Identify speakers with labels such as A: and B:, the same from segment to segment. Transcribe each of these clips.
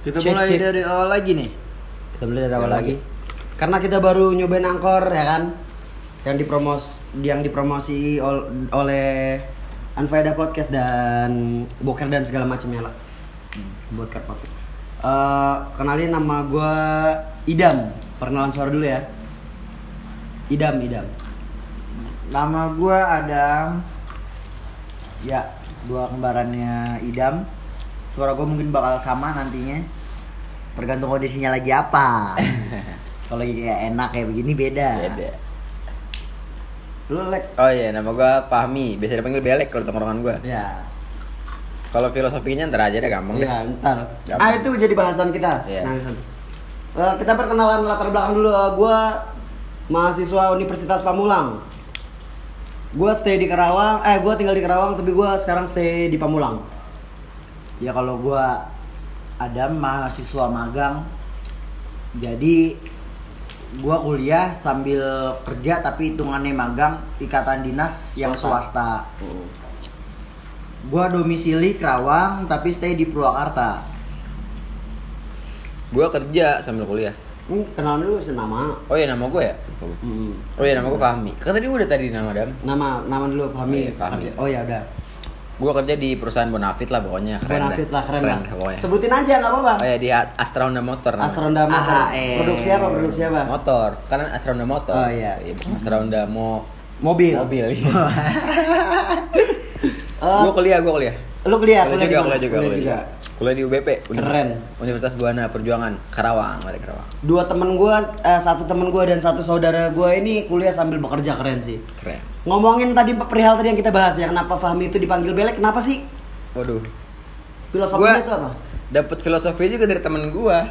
A: Kita
B: Cek,
A: mulai
B: cek.
A: dari awal lagi nih.
B: Kita beli dari awal lagi. Karena kita baru nyobain angkor ya kan. Yang dipromos yang dipromosi ol- oleh Anfaedah Podcast dan Boker dan segala macamnya lah.
A: Hmm.
B: Boker podcast. Eh, kenalin nama gua Idam. Perkenalan suara dulu ya. Idam, Idam.
A: Nama gua Adam. Ya, gua kembarannya Idam. Suara gua mungkin bakal sama nantinya.
C: Tergantung kondisinya lagi apa. Kalau lagi kayak enak kayak begini beda.
D: Beda.
B: Lu lek.
D: Oh iya, nama gua Fahmi. Biasa dipanggil Belek kalau tongkrongan gua.
B: Ya.
D: Kalau filosofinya ntar aja deh gampang deh.
C: Ya,
B: Iya, ntar.
D: Gampang.
B: Ah, itu jadi bahasan kita.
D: Iya.
B: Nah, itu. Eh, kita perkenalan latar belakang dulu. Eh, gua mahasiswa Universitas Pamulang. Gua stay di Karawang, eh gua tinggal di Karawang tapi gua sekarang stay di Pamulang.
C: Ya kalau gua ada mahasiswa magang. Jadi gua kuliah sambil kerja tapi hitungannya magang ikatan dinas yang swasta. Gua domisili Kerawang tapi stay di Purwakarta.
D: Gua kerja sambil kuliah.
B: Hmm, kenalan dulu senama.
D: Oh iya, nama gua ya?
B: Hmm.
D: Oh iya, nama gua Fahmi. Kan tadi udah tadi nama Dam.
B: Nama nama dulu Fahmi.
D: Iya, Fahmi.
B: Oh ya udah.
D: Gua kerja di perusahaan Bonafit lah pokoknya. Keren
B: Benefit lah keren, lah.
D: dah pokoknya.
B: Sebutin aja nggak apa-apa.
D: Oh iya, di Astra Honda Motor. namanya. Ah, eh.
B: Astra Honda Motor.
C: AHM.
B: Produksi apa? Produksi apa?
D: Motor. Karena Astra Honda Motor.
B: Oh, iya.
D: bukan Astra Honda mo
B: Mobil.
D: mobil. iya.
B: Eh,
D: gua kuliah, gua kuliah.
B: lu
D: Kuliah
B: Iya, kuliah,
D: juga,
B: di mana?
D: kuliah juga, kuliah juga. Kuliah di UBP.
B: Keren.
D: Universitas Buana Perjuangan, Karawang, mari Karawang.
B: dua temen gue satu temen gue dan satu saudara gue ini kuliah sambil bekerja keren sih
D: Keren.
B: ngomongin tadi perihal tadi yang kita bahas ya kenapa Fahmi itu dipanggil belek kenapa sih
D: Waduh. Gua-
B: filosofinya itu apa
D: Dapat filosofi juga dari temen gua.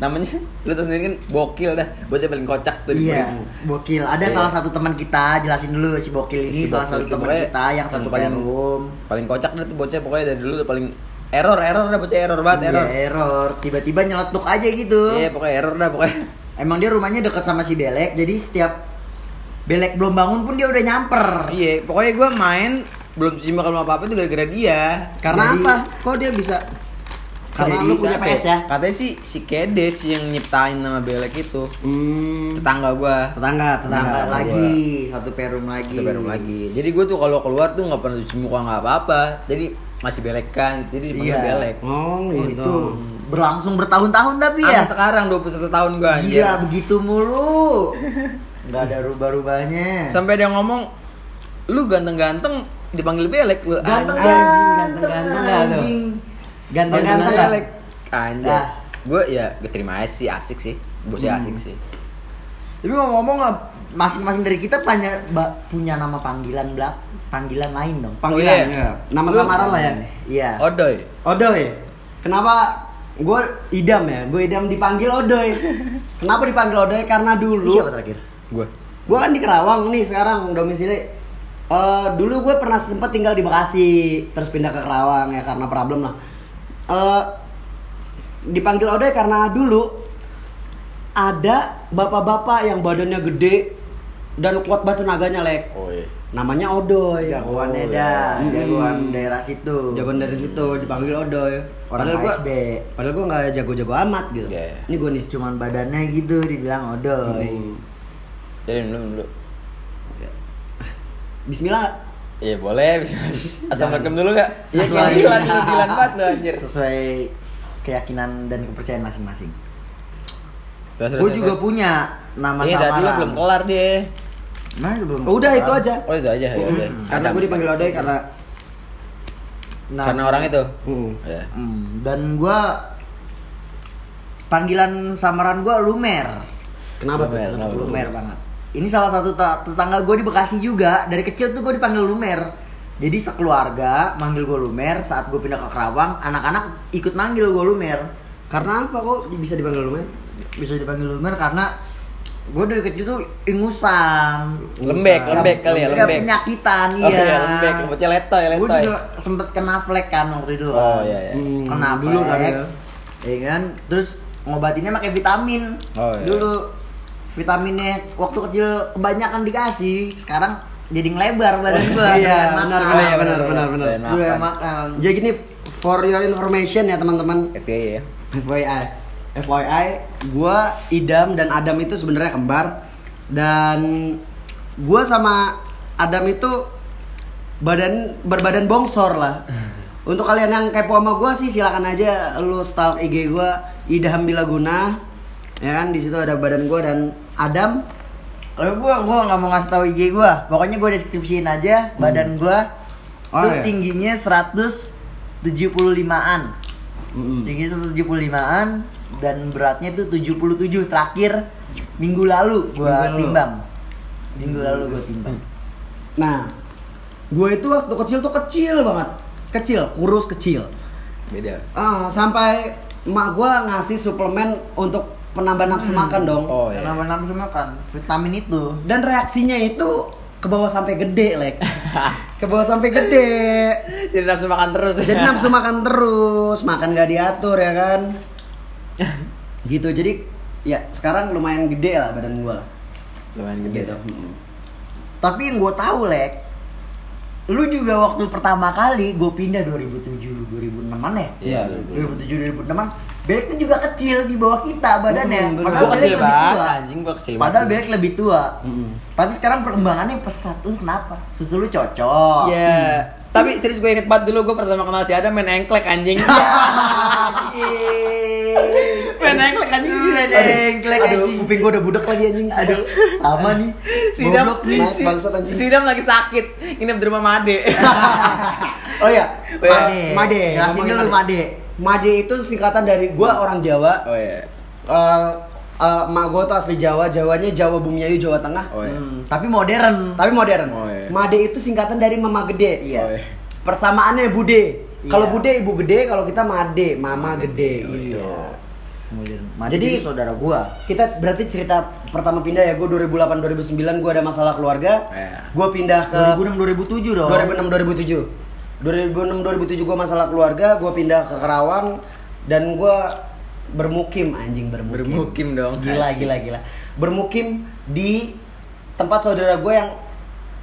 D: Namanya lu tau sendiri kan bokil dah. Bocah paling kocak tuh di
C: Iya,
D: kuliah.
C: bokil. Ada
D: Iya.
C: salah satu teman kita, jelasin dulu si bokil ini
D: Si
C: salah
D: bokil
C: satu
D: itu
C: teman
D: pokoknya
C: kita yang satu
D: paling
C: room.
D: paling kocak dah tuh bocah pokoknya dari dulu tuh paling error error dah bocah error banget
C: Iya,
D: error.
C: error. Tiba-tiba nyeletuk aja gitu.
D: Iya, pokoknya error dah pokoknya.
C: Emang dia rumahnya dekat sama si Belek, jadi setiap Belek belum bangun pun dia udah nyamper.
D: Iya, pokoknya gua main belum cuci makan belum apa-apa itu gara-gara dia.
C: Karena
B: Jadi-
C: apa? Kok dia bisa?
B: Karena
C: Jadi
B: lu punya
C: siapa
B: PS ya?
D: Katanya sih si Kedes yang nyiptain nama belek itu.
B: hmm,
D: Tetangga gua.
B: tetangga tetangga
C: Tetangga
D: Tetangga.
C: lagi, satu perum lagi.
D: Kita baru lagi. Jadi gua tuh kalau keluar tuh nggak pernah cuci muka nggak apa-apa. Jadi masih belekan, jadi dipanggil
C: Iya.
D: belek.
B: oh
C: Oh,
B: gitu
C: itu berlangsung bertahun-tahun tapi
D: Sampai
C: ya.
D: sekarang 21 tahun gua anjir.
C: Gila, begitu mulu. Gak ada rubah-rubahnya.
D: Sampai ada yang ngomong lu ganteng-ganteng dipanggil belek lu.
C: Ganteng
D: anjing.
C: ganteng
B: ganteng,
C: ganteng
B: ganteng.
C: anjing.
B: Ganteng,
C: Ganteng
D: Dipanggil
C: ganteng
B: ganteng.
D: belek. Anjir.
C: Nah.
D: Gua ya gua terima aja sih asik sih.
C: Hmm.
D: Bocah asik sih.
C: Tapi ngomong-ngomong masing-masing dari kita punya ba- punya nama panggilan belak panggilan lain dong.
D: Oh,
B: panggilan
D: iya.
B: ya. nama
D: Lu-
B: samaran lah ya
C: Iya.
D: Odoy.
B: Odoy kenapa gue idam ya gue idam dipanggil Odoy kenapa dipanggil Odoy karena
C: Lu
B: dulu
C: siapa terakhir?
D: Gua.
B: Gue kan di Kerawang nih sekarang domisili. Eh, dulu gue pernah sempat tinggal di Bekasi, terus pindah ke Kerawang ya karena problem lah. Eh, dipanggil Odoy karena dulu ada bapak-bapak yang badannya gede dan kuat banget tenaganya lek.
D: Oh iya.
B: Namanya Odoy.
C: Jagoan
D: Oh,
C: Eda,
B: iya.
C: jagoan
B: Hmm.
C: daerah situ.
B: Jawaban dari situ dipanggil Odoy.
C: Orang
B: gua-
C: KSB.
B: padahal gue nggak jago-jago amat gitu.
D: Iya.
B: Ini gue nih.
C: Cuman badannya gitu dibilang odoy.
B: Hmm.
D: Jadi minum dulu.
B: Bismillah. nggak?
D: Iya boleh bisa. Assalamualaikum dulu gak? Iya
C: Sesuai-
D: sembilan, lu sembilan banget lu anjir.
C: Sesuai keyakinan dan kepercayaan masing-masing.
D: Terus,
C: Gue
D: terus,
C: juga
D: terus.
C: punya nama
D: Iya tadi lu
C: samaran.
D: belum kelar deh.
C: Nah, lu belum.
B: Udah
C: kelar.
B: itu aja.
D: Oh itu aja ya udah.
B: Karena
D: Adam.
B: gue dipanggil Odoy karena
C: Nah,
D: karena orang itu.
B: Hmm.
D: Ya.
C: Hmm, dan gua panggilan samaran gua Lumer.
B: Kenapa tuh?
D: Lumer, kenapa?
C: Lumer banget. Ini salah satu ta- tetangga gue di Bekasi juga. Dari kecil tuh gue dipanggil Lumer. Jadi sekeluarga manggil gue Lumer. Saat gue pindah ke Kerawang, anak-anak ikut manggil gue Lumer.
B: Karena apa kok bisa dipanggil lumer?
C: Bisa dipanggil Lumer karena gue dari kecil tuh ingusan.
D: Lembek,
C: Ingusan.
D: lembek kali ya,
C: Kayak
D: lembek.
C: Penyakitan,
D: Oh
C: iya.
D: iya, lembek, lembeknya letoy,
C: Gue
D: letoy.
C: juga sempet kena flek kan waktu itu.
D: ya. Oh
C: kan.
D: iya iya.
B: Hmm.
C: kena
B: dulu
C: dulu
B: kan ya.
C: ya kan terus ngobatinnya pakai vitamin
D: Oh, iya.
C: dulu vitaminnya waktu kecil kebanyakan dikasih sekarang jadi ngelebar badan gua
B: Iya,
C: doyan
B: benar,
C: makan.
B: benar, benar, benar, benar.
C: Doyan makan.
B: Jadi gini for your information ya teman-teman
D: FYI ya.
B: FYI FYI gua Idam dan Adam itu sebenarnya kembar dan gua sama Adam itu badan berbadan bongsor lah untuk kalian yang kepo sama gua sih silakan aja lu stalk IG gua Idam Bilaguna ya kan di situ ada badan gua dan Adam
C: Kalau gua gua nggak mau ngasih tahu IG gua. Pokoknya gua deskripsiin aja badan
D: Hmm.
C: gua.
B: Oh,
C: tuh
B: iya.
C: tingginya 175-an.
B: Mm-mm.
C: Tingginya 175-an dan beratnya itu 77 terakhir minggu lalu gua
B: Minggu lalu.
C: timbang. Minggu lalu gua
D: Hmm.
C: timbang.
B: nah gua itu waktu kecil tuh kecil banget kecil kurus kecil
D: Beda.
B: Ah, sampai emak gua ngasih suplemen untuk penambah nafsu
C: Hmm.
B: makan dong.
D: Oh
C: Karena
D: ya.
C: menambah makan vitamin itu.
B: Dan reaksinya itu ke bawah sampai gede, Lek. ke bawah sampai gede.
D: Jadi nafsu makan terus. ya?
B: Jadi nafsu makan terus, makan gak diatur ya kan. gitu. Jadi ya sekarang lumayan gede lah badan gua. lah.
D: Lumayan gede.
B: Gitu.
C: Tapi yang gua tahu, Lek, lu juga waktu pertama kali gua pindah 2007 2006 an ya?
D: Iya,
C: 2007 2006 Bek tuh juga kecil di bawah kita
B: Hmm,
C: badannya.
B: bener.
C: padahal
D: Gua
C: Bek
D: kecil
C: lebih
D: banget Hmm.
C: tua.
D: anjing gua kecil
C: gitu, Padahal
D: banget.
C: Bek lebih tua.
B: Mm-mm.
C: Tapi sekarang perkembangannya pesat. Lu kenapa? Susu lu cocok.
D: Iya. Tapi serius gue inget banget dulu gue pertama kenal si Adam main engklek anjing.
C: Iya.
D: main engklek anjing sih
C: Aduh, engklek
B: Aduh,
C: anjing.
B: kuping gua udah budak lagi anjing. Aduung.
C: Sama nih.
D: Si Dam,
C: Goblok nih.
B: naik
D: si,
B: bangsat anjing.
D: si Dam lagi sakit, nginep di rumah Made.
B: Oh
C: iya,
B: ya,
D: Weh.
B: Made. Made.
C: Jelasin
B: Ngomongin
C: dulu Iya, Made.
B: Made itu singkatan dari gua orang Jawa.
D: oh iya.
B: eh eh, emak gue tuh asli Jawa, Jawanya Jawa Bumiayu, Jawa Tengah.
D: Oh iya.
C: Hmm, tapi modern.
B: Tapi modern.
D: Oh, iya.
B: Made itu singkatan dari Mama Gede.
C: Iya.
D: Oh, iya.
B: Persamaannya Bude.
C: Iya.
B: Kalau Bude ibu gede, kalau kita Made, Mama Gede gitu.
D: iya.
C: Modern. Made
B: Jadi-
C: itu saudara gua.
B: Kita berarti cerita pertama pindah ya, gue 2008 2009 gue ada masalah keluarga.
D: Iya.
B: Gue pindah ke
C: 2006 2007 dong.
B: 2006 2007 2006 2007 gue masalah keluarga gue pindah ke Karawang dan gue bermukim anjing bermukim
D: Bermukim dong.
B: gila
D: Asik.
B: gila gila bermukim di tempat saudara gue yang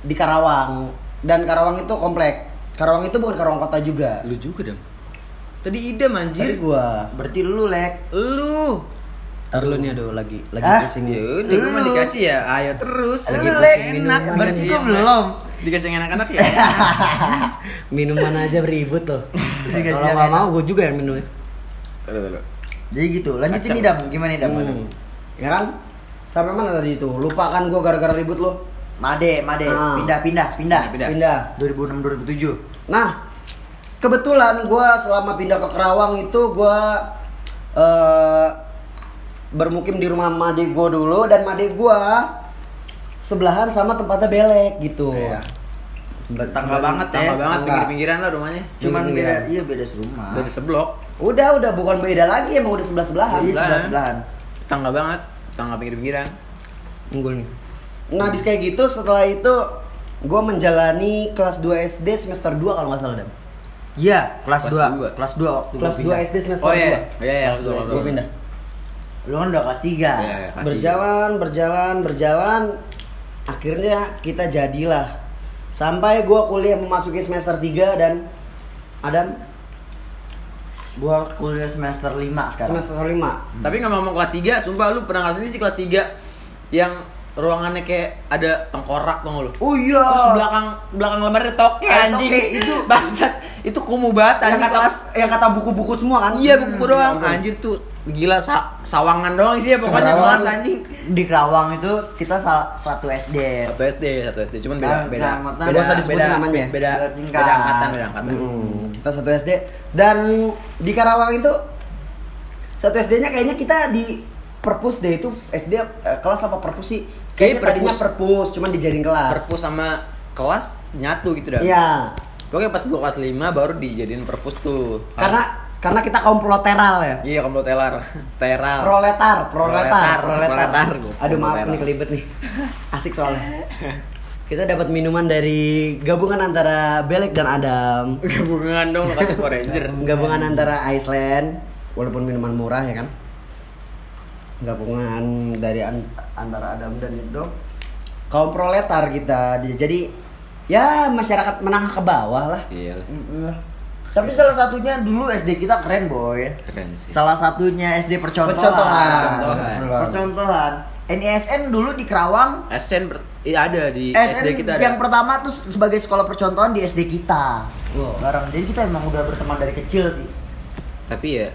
B: di Karawang dan Karawang itu komplek Karawang itu bukan Karawang kota juga
D: Lu juga Dam. Tadi idem
B: Anjir
D: anjir.
B: gue
C: Berarti lu Lek.
D: Lu.
B: Taruh lu nih aduh lagi lagi
C: Ah.
B: pusing
D: Ya
B: nih.
D: udah gue mah
C: Lu.
D: dikasih ya. Ayo terus.
C: Lu,
D: Lagi
C: Lek.
D: pusing enak.
C: Berarti
D: dikasih
C: gua
D: yang
C: belum.
D: enak. Dikasih yang enak-enak ya.
B: Minuman aja beribut tuh
C: Dikasih
B: Kalau
C: yang
B: nggak
C: enak.
B: mau gue juga yang minum
D: Tunggu, tunggu.
C: Jadi gitu. Lanjutin
D: Kacau.
C: nih Dam, gimana nih Dam?
B: Hmm. Ya kan? Sampai mana tadi itu? Lupa kan gue gara-gara ribut lo.
C: Made, Made,
B: Ah.
C: pindah, pindah, pindah.
D: Pindah.
B: Pindah.
C: 2006 2007.
B: Nah, kebetulan gue selama pindah ke Kerawang itu gue bermukim di rumah Made gue dulu dan Made gue sebelahan sama tempatnya Belek gitu.
D: Iya.
B: Sebe-
C: Tangga banget ya.
D: Tangga banget
B: Tangga.
D: pinggir-pinggiran lah rumahnya.
C: Cuman
B: Iya,
C: beda,
B: iya.
C: iya beda serumah.
D: Dari seblok.
B: Udah udah bukan beda lagi emang udah sebelah sebelahan.
C: Iya,
D: Sebelahan.
C: sebelah-sebelahan.
D: Tangga banget. Tangga pinggir-pinggiran.
B: Unggul nih. Nah, habis kayak gitu setelah itu gue menjalani kelas 2 SD semester 2 kalau nggak salah dam.
C: Iya, kelas
D: Kelas
C: 2.
D: dua.
C: Kelas 2 waktu
B: Kelas
C: gua
B: 2
C: pindah.
B: SD semester
D: Oh
B: 2.
D: iya. Iya, iya, kelas dua, kelas
B: Gue
D: dua.
B: pindah.
C: Lu kan udah kelas 3.
D: Iya, iya. Kelas
B: Berjalan, berjalan, berjalan. Akhirnya kita jadilah. Sampai gua kuliah memasuki semester 3 dan Adam
C: Gua kuliah semester 5 sekarang.
B: semester 5.
D: Tapi nggak ngomong kelas 3, sumpah lu pernah ngerasain sih kelas 3 yang ruangannya kayak ada tengkorak tuh lu.
C: Oh iya.
D: Terus belakang belakang lemari ada toke
C: Ada
D: anjing.
C: toke, itu.
D: bangsat. Itu kumuh banget
B: Yang
D: anjing
B: kata,
D: kelas.
B: yang kata buku-buku semua kan?
D: Iya buku doang
B: iya,
D: anjir tuh gila sa- sawangan doang sih ya pokoknya
C: Kerawang.
D: kelas anjing.
C: Di Kerawang itu kita sa- satu SD.
D: Satu SD, satu SD, cuman beda,
C: Nah,
D: beda,
C: nah,
D: beda,
B: usah disebutin
D: beda,
B: namanya.
D: beda, Hmm.
C: Beda
D: beda,
C: tingkat.
D: angkatan, beda angkatan.
C: Hmm.
D: Nah,
B: Mm-mm. Kita satu SD dan di Karawang itu satu SD-nya kayaknya kita di perpus deh itu SD eh, kelas apa perpus sih? Kayaknya
D: Kayaknya
B: tadinya perpus, cuman dijadiin kelas.
D: Perpus sama kelas nyatu gitu dah.
B: Iya.
D: Pokoknya pas gua kelas 5 baru dijadiin perpus tuh.
B: Karena karena kita kaum proleteral ya.
D: Iya, kamu telar, teral.
B: Proletar,
D: Proletar,
B: proletar, proletar.
D: proletar. Gua
B: Aduh maaf
D: proletar.
B: nih kelibet nih. Asik soalnya. Kita dapat minuman dari gabungan antara Belek dan Adam.
D: Gabungan dong lo kata Power Ranger.
B: gabungan antara Iceland walaupun minuman murah ya kan gabungan dari an- antara Adam dan itu kaum proletar kita jadi ya masyarakat menengah ke bawah lah
D: Iya. lah.
C: Tapi salah satunya dulu SD kita keren boy.
D: Keren sih.
C: Salah satunya SD percontohan.
A: Percontohan.
D: Percontohan.
C: Percontohan. NISN dulu di Kerawang.
D: SN ber- iya, ada di
C: SN
D: SD kita ada.
C: yang pertama tuh sebagai sekolah percontohan di SD kita.
A: Wow.
C: Bareng. Jadi kita emang udah berteman dari kecil sih.
D: Tapi ya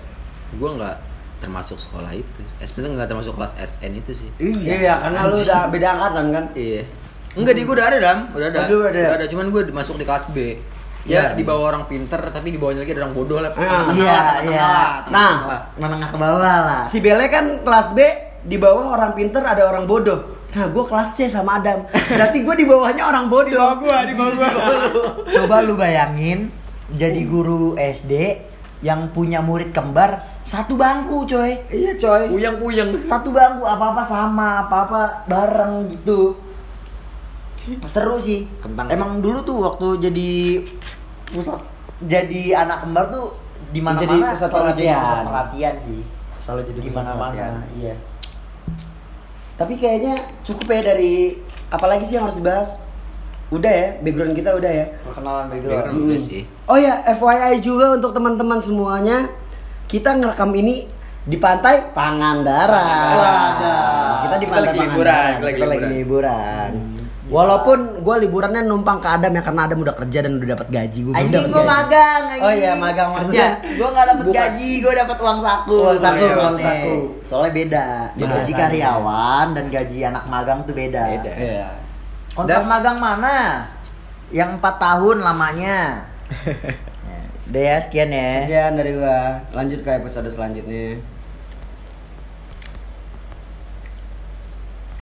D: gua nggak termasuk sekolah itu. SN itu nggak termasuk kelas SN itu sih.
B: Iya, karena lu udah beda angkatan kan.
D: Iya. Enggak di gua udah ada dam, udah ada.
B: Oh, dulu ada.
D: Udah ada, cuman gua masuk di kelas B. Ya, di bawah orang pinter, tapi di bawahnya lagi ada orang bodoh lah.
B: Ah.
C: Iya, iya.
B: Nah.
C: menengah ke bawah lah.
B: Si Bele kan kelas B, di bawah orang pinter ada orang bodoh. Nah, gue kelas C sama Adam. Berarti gue di bawahnya orang bodoh. Di bawah gue, di bawah gue.
C: Coba lu bayangin jadi guru SD yang punya murid kembar satu bangku, coy.
B: iya coy.
D: Puyang-puyang.
C: Satu bangku apa-apa sama, apa-apa bareng gitu. Seru sih. Emang dulu tuh waktu jadi pusat jadi anak kembar tuh di mana-mana
B: Jadi pusat
C: selalu jadi
B: perhatian.
C: pusat perhatian sih.
B: Selalu jadi
C: Di
B: pusat perhatian.
C: mana-mana, iya.
B: Tapi kayaknya cukup ya dari apalagi sih yang harus dibahas? Udah ya, background kita udah ya.
C: Perkenalan
D: Background
C: background.
D: udah
B: Hmm.
D: sih.
B: Oh ya, FYI juga untuk teman-teman semuanya, kita ngerekam ini di pantai Pangandaran.
D: Pangandaran.
B: Kita di
D: Kita lagi
B: pantai Pangandaran.
D: liburan, kita
B: Kita
D: lagi
B: lagi liburan.
C: Hmm.
B: Walaupun gue liburannya numpang ke Adam ya karena Adam udah kerja dan udah dapat gaji gue.
C: Anjing gua magang anjing.
B: Oh iya, magang
C: Maksudnya,
B: maksudnya.
C: gua gak dapet
B: Bukan.
C: gaji, gua dapet uang saku.
B: Uang saku,
C: Iya,
B: uang
C: Mas.
B: saku.
C: Soalnya beda.
B: Beda.
C: gaji karyawan dan gaji anak magang tuh beda.
D: Beda.
B: Iya.
C: Kontrak
D: Dan-
C: magang mana? Yang 4 tahun lamanya. Ya, Udah ya, sekian ya.
B: Iya, Sekian dari gue. Lanjut ke episode selanjutnya.